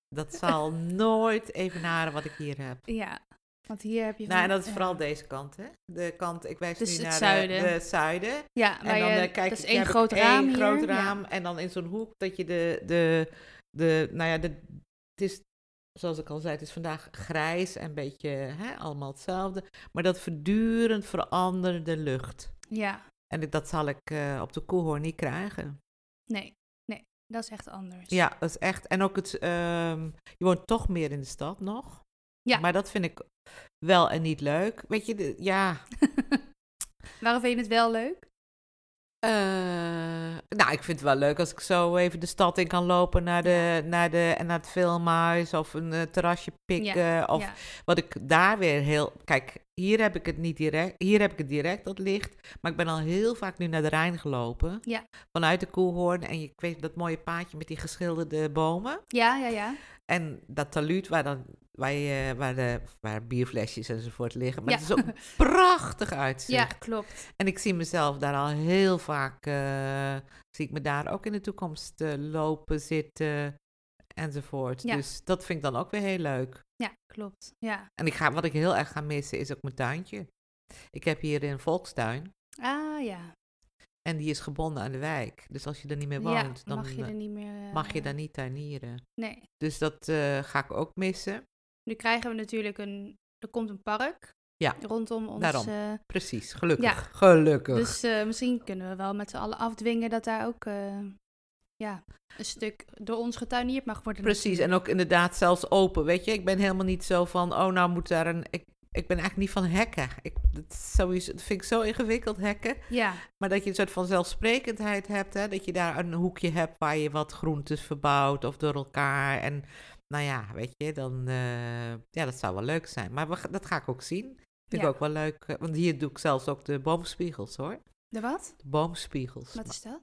Speaker 2: dat zal nooit evenaren wat ik hier heb.
Speaker 1: ja, want hier heb je...
Speaker 2: Nou,
Speaker 1: van- eh,
Speaker 2: en dat is
Speaker 1: ja.
Speaker 2: vooral deze kant, hè? De kant, ik wijs
Speaker 1: Dus het
Speaker 2: nu naar de-
Speaker 1: zuiden.
Speaker 2: De, zuiden.
Speaker 1: Ja, maar
Speaker 2: en dan
Speaker 1: je,
Speaker 2: eh, kijk
Speaker 1: dat is
Speaker 2: ik-
Speaker 1: één
Speaker 2: heb ik
Speaker 1: groot
Speaker 2: één
Speaker 1: raam hier.
Speaker 2: groot
Speaker 1: Ja.
Speaker 2: raam en dan in zo'n hoek dat je de, de, de nou ja, de, het is, zoals ik al zei, het is vandaag grijs en een beetje hè, allemaal hetzelfde. Maar dat voortdurend veranderde lucht.
Speaker 1: Ja,
Speaker 2: En ik- dat zal ik eh, op de Koehoorn niet krijgen.
Speaker 1: nee, nee, dat is echt anders.
Speaker 2: Ja, dat is echt. En ook het, ehm, je woont toch meer in de stad nog.
Speaker 1: Ja.
Speaker 2: Maar dat vind ik wel en niet leuk. Weet je, de- ja,
Speaker 1: Waarom vind je het wel leuk?
Speaker 2: Eh, nou, ik vind het wel leuk als ik zo even de stad in kan lopen naar, de, naar, de, en naar het filmhuis of een eh, terrasje pikken. Of
Speaker 1: ja.
Speaker 2: wat ik daar weer heel. Kijk, hier heb ik het niet direct. Hier heb ik het direct, dat licht. Maar ik ben al heel vaak nu naar de Rijn gelopen.
Speaker 1: Ja.
Speaker 2: Vanuit de Koehoorn. En je- ik weet dat mooie paadje met die geschilderde bomen.
Speaker 1: ja, ja, ja.
Speaker 2: En dat taluut waar, dan, waar, je, waar, de, waar bierflesjes enzovoort liggen. Maar
Speaker 1: Ja.
Speaker 2: het is ook prachtig uitzicht.
Speaker 1: Ja, klopt.
Speaker 2: En ik zie mezelf daar al heel vaak, eh, zie ik me daar ook in de toekomst eh, lopen, zitten enzovoort.
Speaker 1: Ja.
Speaker 2: Dus dat vind ik dan ook weer heel leuk.
Speaker 1: Ja, klopt. Ja.
Speaker 2: En ik ga, wat ik heel erg ga missen is ook mijn tuintje. Ik heb hier een volkstuin
Speaker 1: Ah, ja.
Speaker 2: en die is gebonden aan de wijk. Dus als je er niet meer
Speaker 1: Ja,
Speaker 2: woont, dan
Speaker 1: mag je er niet meer... eh,
Speaker 2: mag je daar niet tuinieren.
Speaker 1: Nee.
Speaker 2: Dus dat eh, ga ik ook missen.
Speaker 1: Nu krijgen we natuurlijk een... Er komt een park
Speaker 2: Ja,
Speaker 1: rondom ons.
Speaker 2: daarom.
Speaker 1: eh,
Speaker 2: Precies, gelukkig.
Speaker 1: Ja.
Speaker 2: Gelukkig.
Speaker 1: dus eh, misschien kunnen we wel met z'n allen afdwingen dat daar ook... eh, ja, een stuk door ons getuinierd mag worden.
Speaker 2: Precies, en ook inderdaad zelfs open, weet je. Ik ben helemaal niet zo van, oh nou moet daar een... Ik, ik ben eigenlijk niet van hekken. Ik, dat, is sowieso, dat vind ik zo ingewikkeld, hekken.
Speaker 1: Ja,
Speaker 2: Maar dat je een soort van zelfsprekendheid hebt, hè. Dat je daar een hoekje hebt waar je wat groentes verbouwt of door elkaar. En nou ja, weet je, dan... eh, ja, dat zou wel leuk zijn. Maar we ga- dat ga ik ook zien. Vind
Speaker 1: Ja.
Speaker 2: ik ook wel leuk. eh, Want hier doe ik zelfs ook de boomspiegels, hoor.
Speaker 1: de wat?
Speaker 2: De boomspiegels.
Speaker 1: Wat is dat?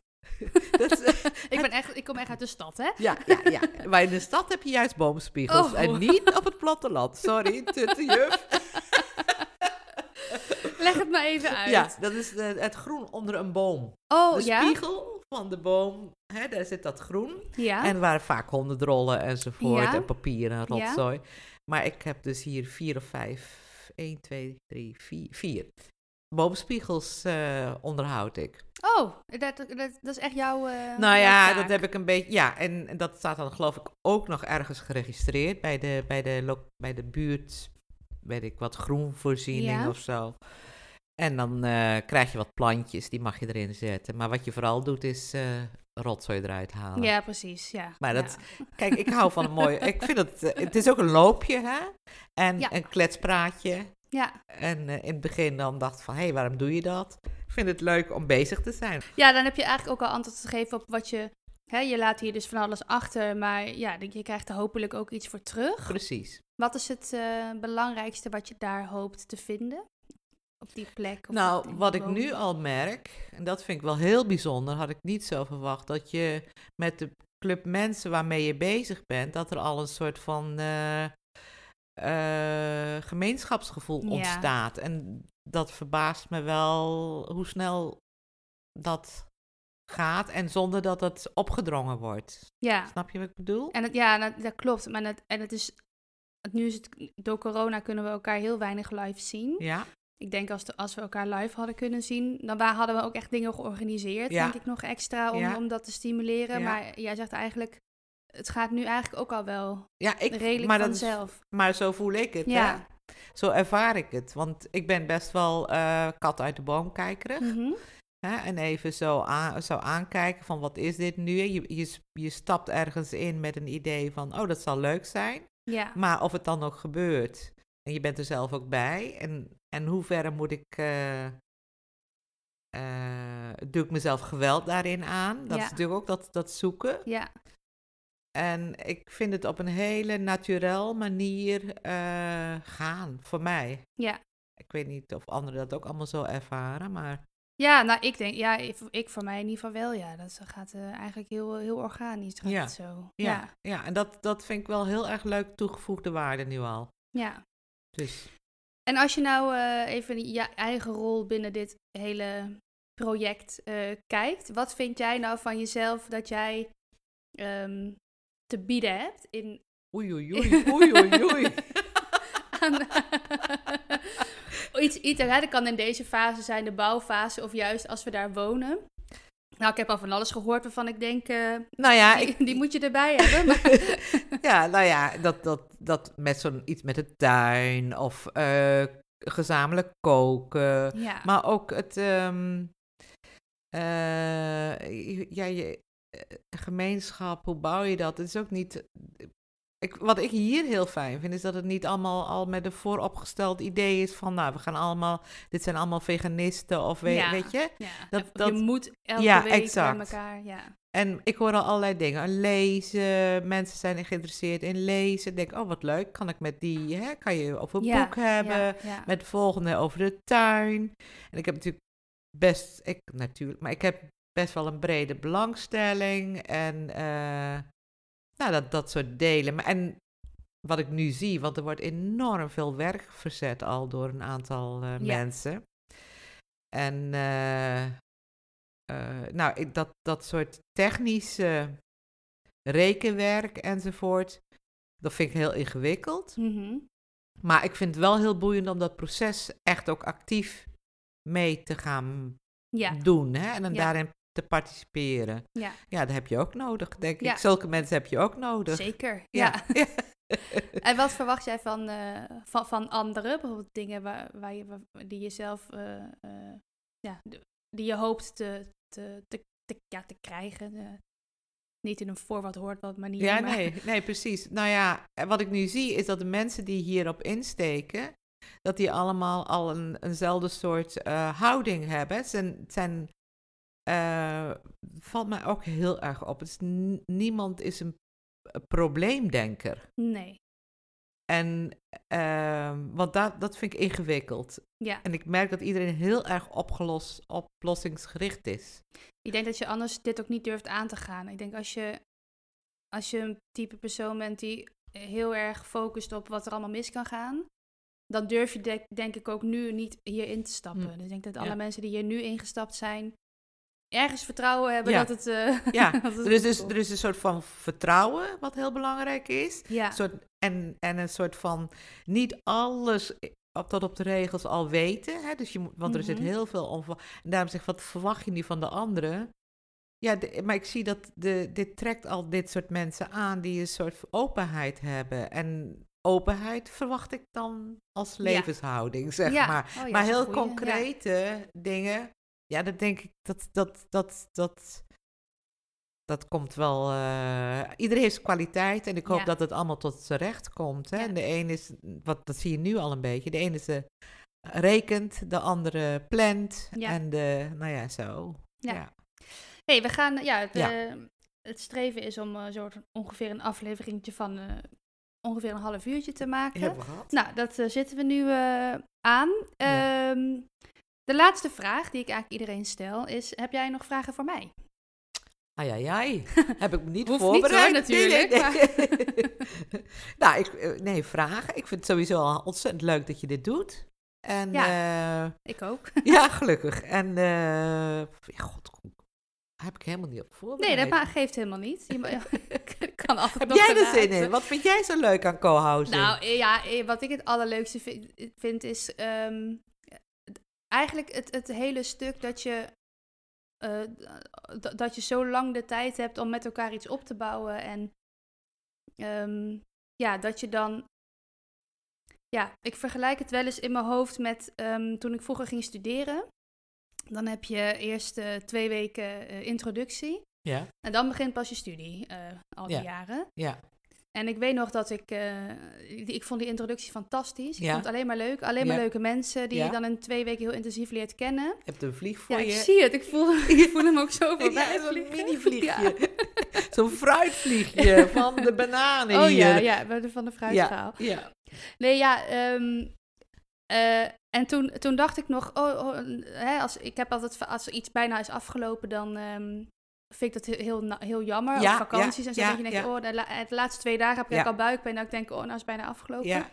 Speaker 2: Dat is-
Speaker 1: Ik, ben echt, ik kom echt uit de stad, hè?
Speaker 2: Ja, ja, ja. Maar in de stad heb je juist boomspiegels.
Speaker 1: Oh.
Speaker 2: En niet op het platteland. Sorry, tutte juf.
Speaker 1: Leg het maar even uit.
Speaker 2: Ja, dat is de- het groen onder een boom.
Speaker 1: Oh
Speaker 2: de
Speaker 1: ja?
Speaker 2: spiegel van de boom, hè, daar zit dat groen.
Speaker 1: Ja.
Speaker 2: En waar vaak honderdrollen enzovoort.
Speaker 1: Ah. Ja.
Speaker 2: En papier en
Speaker 1: Ja.
Speaker 2: rotzooi. Maar ik heb dus hier vier of vijf. 1, 2, 3, 4. Vier. Boomspiegels eh, onderhoud ik.
Speaker 1: Oh, dat, dat, dat is echt jouw. eh,
Speaker 2: Nou
Speaker 1: jouw
Speaker 2: ja,
Speaker 1: taak.
Speaker 2: dat heb ik een beetje. Ja, en en dat staat dan geloof ik ook nog ergens geregistreerd bij de, bij de, lo- bij de buurt, weet ik wat, groenvoorziening
Speaker 1: Ja.
Speaker 2: of zo. En dan eh, krijg je wat plantjes, die mag je erin zetten. Maar wat je vooral doet is eh, rotzooi eruit halen.
Speaker 1: Ja, precies. Ja.
Speaker 2: Maar dat-
Speaker 1: Ja.
Speaker 2: Kijk, ik hou van een mooie. Ik vind het. eh, het is ook een loopje, hè? En
Speaker 1: Ja.
Speaker 2: een kletspraatje.
Speaker 1: Ja.
Speaker 2: En eh, in het begin dan dacht ik van, hé, hey, waarom doe je dat? Ik vind het leuk om bezig te zijn.
Speaker 1: ja, dan heb je eigenlijk ook al antwoord gegeven op wat je. Hè, je laat hier dus van alles achter, maar ja, je krijgt er hopelijk ook iets voor terug.
Speaker 2: Precies.
Speaker 1: Wat is het eh, belangrijkste wat je daar hoopt te vinden? Op die plek? Of op
Speaker 2: Nou,
Speaker 1: die
Speaker 2: wat ik
Speaker 1: woning?
Speaker 2: nu al merk, en dat vind ik wel heel bijzonder, had ik niet zo verwacht, dat je met de club mensen waarmee je bezig bent, dat er al een soort van eh, eh, gemeenschapsgevoel
Speaker 1: Ja.
Speaker 2: ontstaat. En dat verbaast me wel hoe snel dat gaat en zonder dat het opgedrongen wordt.
Speaker 1: Ja,
Speaker 2: Snap je wat ik bedoel?
Speaker 1: en het, ja dat, dat klopt. Maar dat, en het is, want nu is het, door corona kunnen we elkaar heel weinig live zien.
Speaker 2: Ja,
Speaker 1: Ik denk als, de, als we elkaar live hadden kunnen zien, dan wa- hadden we ook echt dingen georganiseerd,
Speaker 2: Ja.
Speaker 1: denk ik nog extra, om,
Speaker 2: Ja.
Speaker 1: om dat te stimuleren.
Speaker 2: Ja.
Speaker 1: Maar jij zegt eigenlijk, het gaat nu eigenlijk ook al wel
Speaker 2: ja ik,
Speaker 1: redelijk
Speaker 2: maar, dat is-
Speaker 1: vanzelf.
Speaker 2: maar zo voel ik het.
Speaker 1: Ja.
Speaker 2: Hè? Zo ervaar ik het. Want ik ben best wel eh, kat uit de boom kijkerig.
Speaker 1: Mhm.
Speaker 2: Hè, en even zo, aan, zo aankijken van wat is dit nu? Je, je, s- je stapt ergens in met een idee van, oh dat zal leuk zijn.
Speaker 1: Ja,
Speaker 2: Maar of het dan ook gebeurt. En je bent er zelf ook bij. En, en hoe ver moet ik... eh, eh, doe ik mezelf geweld daarin aan? Dat
Speaker 1: Ja.
Speaker 2: is natuurlijk ook dat, dat zoeken.
Speaker 1: ja,
Speaker 2: En ik vind het op een hele naturel manier eh, gaan, voor mij.
Speaker 1: ja.
Speaker 2: Ik weet niet of anderen dat ook allemaal zo ervaren, maar...
Speaker 1: Ja, nou ik denk, ja, ik, ik voor mij in ieder geval wel, ja. Dat gaat eh, eigenlijk heel, heel organisch, gaat
Speaker 2: Ja.
Speaker 1: het zo.
Speaker 2: Ja, ja. en dat, dat vind ik wel heel erg leuk toegevoegde waarde nu al.
Speaker 1: ja.
Speaker 2: Dus
Speaker 1: En als je nou eh, even je eigen rol binnen dit hele project eh, kijkt, wat vind jij nou van jezelf dat jij ehm, te bieden hebt in
Speaker 2: oei, oei, oei, oei, oei, oei.
Speaker 1: aan- eh, iets, iets, hè, dat kan in deze fase zijn, de bouwfase, of juist als we daar wonen. Nou, ik heb al van alles gehoord waarvan ik denk, eh,
Speaker 2: nou ja,
Speaker 1: die,
Speaker 2: ik,
Speaker 1: die moet je erbij hebben. Maar,
Speaker 2: ja, nou ja, dat, dat, dat met zo'n iets met de tuin of eh, gezamenlijk koken.
Speaker 1: ja.
Speaker 2: Maar ook het. ehm, eh, je- ja, je eh, gemeenschap, hoe bouw je dat? Het is ook niet. Ik, wat ik hier heel fijn vind, is dat het niet allemaal al met een vooropgesteld idee is van, nou, we gaan allemaal, dit zijn allemaal veganisten of we-
Speaker 1: Ja.
Speaker 2: weet je.
Speaker 1: Ja,
Speaker 2: Dat-
Speaker 1: of
Speaker 2: dat-
Speaker 1: je moet elke
Speaker 2: Ja,
Speaker 1: week
Speaker 2: exact.
Speaker 1: bij elkaar. Ja,
Speaker 2: En ik hoor al allerlei dingen. Lezen, mensen zijn geïnteresseerd in lezen. Ik Denk, oh wat leuk, kan ik met die, hè, kan je over een
Speaker 1: Ja,
Speaker 2: boek hebben.
Speaker 1: ja, ja.
Speaker 2: Met de volgende over de tuin. En ik heb natuurlijk best, ik natuurlijk, maar ik heb best wel een brede belangstelling. En eh, nou, dat, dat soort delen. Maar, en wat ik nu zie, want er wordt enorm veel werk verzet al door een aantal eh,
Speaker 1: Ja.
Speaker 2: mensen. En eh, eh, nou, ik- dat, dat soort technische rekenwerk enzovoort, dat vind ik heel ingewikkeld.
Speaker 1: Mhm.
Speaker 2: Maar ik vind het wel heel boeiend om dat proces echt ook actief mee te gaan
Speaker 1: ja,
Speaker 2: doen. Hè? En dan
Speaker 1: Ja.
Speaker 2: daarin te participeren.
Speaker 1: Ja.
Speaker 2: ja, dat heb je ook nodig, denk
Speaker 1: Ja.
Speaker 2: ik. Zulke mensen heb je ook nodig.
Speaker 1: zeker. Ja.
Speaker 2: Ja. Ja.
Speaker 1: En wat verwacht jij van, eh, van, van anderen? Bijvoorbeeld dingen waar, waar je, waar- die je zelf, eh, eh, ja, de- die je hoopt te, te, te, te- ja, te krijgen. eh, niet in een voor wat hoort wat manier.
Speaker 2: Ja,
Speaker 1: maar-
Speaker 2: nee, nee, precies. Nou ja, en wat ik nu zie is dat de mensen die hierop insteken, dat die allemaal al een, eenzelfde soort eh, houding hebben. Het zijn, het zijn eh, valt mij ook heel erg op. Het is n- niemand is een eh, probleemdenker.
Speaker 1: Nee.
Speaker 2: En, ehm, want dat, dat vind ik ingewikkeld.
Speaker 1: Ja.
Speaker 2: En ik merk dat iedereen heel erg opgelost, oplossingsgericht is.
Speaker 1: Ik denk dat je anders dit ook niet durft aan te gaan. Ik denk als je, als je een type persoon bent die heel erg focust op wat er allemaal mis kan gaan, dan durf je de- denk ik ook nu niet hierin te stappen.
Speaker 2: Hm.
Speaker 1: Dus ik denk dat
Speaker 2: Ja.
Speaker 1: alle mensen die hier nu ingestapt zijn, ergens vertrouwen hebben
Speaker 2: Ja.
Speaker 1: dat het... eh,
Speaker 2: Ja,
Speaker 1: dat het
Speaker 2: Er is, dus,
Speaker 1: goed
Speaker 2: er is een soort van vertrouwen, wat heel belangrijk is.
Speaker 1: komt. ja.
Speaker 2: Een soort, en, en een soort van niet alles op, tot op de regels al weten. Hè? Dus je moet, want er
Speaker 1: Mhm.
Speaker 2: zit heel veel onverwacht. En daarom zeg ik, wat verwacht je nu van de anderen? Ja, de- maar ik zie dat de, dit trekt al dit soort mensen aan die een soort openheid hebben. En openheid verwacht ik dan als levenshouding, zeg
Speaker 1: Ja.
Speaker 2: maar.
Speaker 1: Oh ja,
Speaker 2: maar
Speaker 1: dat is een
Speaker 2: heel
Speaker 1: goeie. Ja.
Speaker 2: concrete dingen, ja, dat denk ik, dat, dat, dat, dat, dat komt wel. eh iedereen heeft zijn kwaliteit en ik hoop
Speaker 1: Ja.
Speaker 2: dat het allemaal tot z'n recht komt. Hè?
Speaker 1: Ja.
Speaker 2: En de een is, wat, dat zie je nu al een beetje, de ene is eh, rekent, de andere plant
Speaker 1: Ja.
Speaker 2: en de, nou ja, zo.
Speaker 1: Ja.
Speaker 2: ja.
Speaker 1: hey, we gaan... Ja, het,
Speaker 2: Ja.
Speaker 1: eh, het streven is om eh, soort ongeveer een afleveringetje van eh, ongeveer een half uurtje te maken.
Speaker 2: Hebben we gehad?
Speaker 1: Nou, dat eh, zitten we nu eh, aan.
Speaker 2: Ja.
Speaker 1: Ehm, de laatste vraag die ik eigenlijk iedereen stel is: heb jij nog vragen voor mij?
Speaker 2: Ai, ai, ai. Heb ik me
Speaker 1: Hoeft niet,
Speaker 2: niet
Speaker 1: hoor,
Speaker 2: voorbereid.
Speaker 1: natuurlijk,
Speaker 2: nou, ik, eh, nee, vragen. Ik vind het sowieso al ontzettend leuk dat je dit doet. En eh, ja,
Speaker 1: Ik ook.
Speaker 2: ja gelukkig. En eh, ja, god, daar heb ik helemaal niet op voorbereid.
Speaker 1: Nee, dat ma- geeft helemaal niet. Je ma- ik kan altijd
Speaker 2: Heb
Speaker 1: nog
Speaker 2: jij er
Speaker 1: ernaar.
Speaker 2: zin in? Wat vind jij zo leuk aan co-housing?
Speaker 1: Nou eh, ja, eh, wat ik het allerleukste vind, vind is ehm, het- eigenlijk het, het hele stuk dat je, eh, d- dat je zo lang de tijd hebt om met elkaar iets op te bouwen. En ehm, ja, dat je dan. Ja, ik vergelijk het wel eens in mijn hoofd met ehm, toen ik vroeger ging studeren. Dan heb je eerst eh, twee weken eh, introductie.
Speaker 2: ja,
Speaker 1: En dan begint pas je studie, eh, al die
Speaker 2: Ja.
Speaker 1: jaren.
Speaker 2: ja,
Speaker 1: En ik weet nog dat ik, eh, die- ik vond die introductie fantastisch. Ik
Speaker 2: Ja.
Speaker 1: vond het alleen maar leuk. Alleen maar
Speaker 2: Ja.
Speaker 1: leuke mensen die
Speaker 2: Ja.
Speaker 1: je dan in twee weken heel intensief leert kennen.
Speaker 2: je hebt een vlieg
Speaker 1: Ja,
Speaker 2: voor
Speaker 1: ik
Speaker 2: je.
Speaker 1: zie het. Ik voel, ik voel hem ook zo
Speaker 2: Ja,
Speaker 1: voorbij
Speaker 2: zo'n
Speaker 1: vliegen.
Speaker 2: mini-vliegje.
Speaker 1: Ja.
Speaker 2: Zo'n fruitvliegje van de bananen
Speaker 1: Oh
Speaker 2: hier.
Speaker 1: ja, ja, we hebben van de fruitverhaal.
Speaker 2: eh, ja.
Speaker 1: Nee, ja, ehm, eh, en toen, toen dacht ik nog, oh, oh, hè, als, ik heb altijd, va- als er iets bijna is afgelopen, dan ehm, vind ik dat he- heel, na- heel jammer.
Speaker 2: Ja,
Speaker 1: Op vakanties
Speaker 2: ja,
Speaker 1: en zo,
Speaker 2: ja,
Speaker 1: dat je denkt,
Speaker 2: ja.
Speaker 1: oh, de, la- de laatste twee dagen heb ik
Speaker 2: Ja.
Speaker 1: al buikpijn. Dat ik denk, oh, nou is het bijna afgelopen.
Speaker 2: Ja.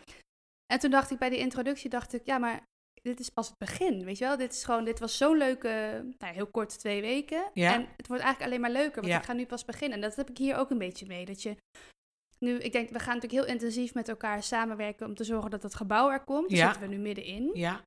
Speaker 1: En toen dacht ik bij die introductie, dacht ik, ja, maar dit is pas het begin, weet je wel? Dit is gewoon, dit was zo'n leuke, nou, ja, heel kort twee weken.
Speaker 2: Ja.
Speaker 1: En het wordt eigenlijk alleen maar leuker, want
Speaker 2: Ja.
Speaker 1: ik ga nu pas beginnen. En dat heb ik hier ook een beetje mee, dat je nu, ik denk, we gaan natuurlijk heel intensief met elkaar samenwerken om te zorgen dat dat gebouw er komt. Daar
Speaker 2: Ja.
Speaker 1: zitten we nu middenin.
Speaker 2: ja.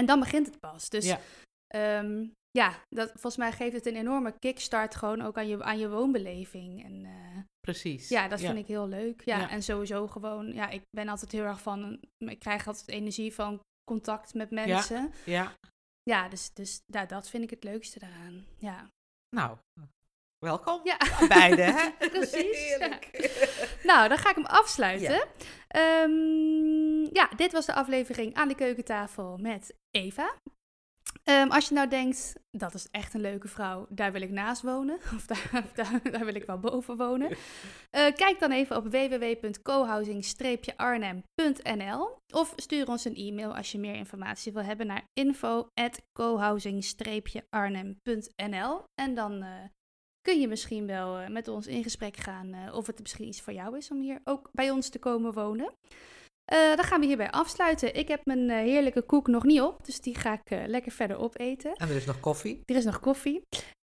Speaker 1: En dan begint het pas. Dus
Speaker 2: Ja.
Speaker 1: ja, ja dat, volgens mij geeft het een enorme kickstart gewoon ook aan je, aan je woonbeleving. En, eh,
Speaker 2: Precies.
Speaker 1: ja, dat vind ik heel leuk. Ja,
Speaker 2: Ja.
Speaker 1: en sowieso gewoon, ja, ik ben altijd heel erg van, mm, ik krijg altijd energie van contact met mensen. Ja,
Speaker 2: Ja,
Speaker 1: dus, dus ja, dat vind ik het leukste daaraan. Ja.
Speaker 2: nou, welkom
Speaker 1: ja.
Speaker 2: aan beide, hè?
Speaker 1: Precies.
Speaker 2: Heerlijk.
Speaker 1: Nou, dan ga ik hem afsluiten.
Speaker 2: Ja.
Speaker 1: Ja. ja, dit was de aflevering aan de keukentafel met Eva. Ehm, als je nou denkt, dat is echt een leuke vrouw, daar wil ik naast wonen. Of daar, of daar, daar wil ik wel boven wonen. Eh, kijk dan even op www.cohousing-arnhem.nl of stuur ons een e-mail als je meer informatie wil hebben naar info.cohousing-arnhem.nl. En dan eh, kun je misschien wel eh, met ons in gesprek gaan eh, of het misschien iets voor jou is om hier ook bij ons te komen wonen. Eh, dan gaan we hierbij afsluiten. Ik heb mijn eh, heerlijke koek nog niet op, dus die ga ik eh, lekker verder opeten.
Speaker 2: En er is nog koffie.
Speaker 1: Er is nog koffie.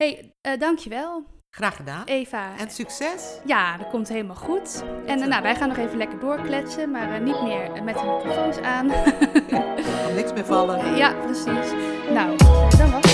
Speaker 1: hey, eh, dankjewel
Speaker 2: Graag gedaan.
Speaker 1: Eva.
Speaker 2: En succes.
Speaker 1: Ja, dat komt helemaal goed. En eh, nou, wij gaan nog even lekker doorkletsen, maar eh, niet meer eh, met de microfoons aan.
Speaker 2: Er kan niks meer vallen.
Speaker 1: ja, precies. Nou, dan was het.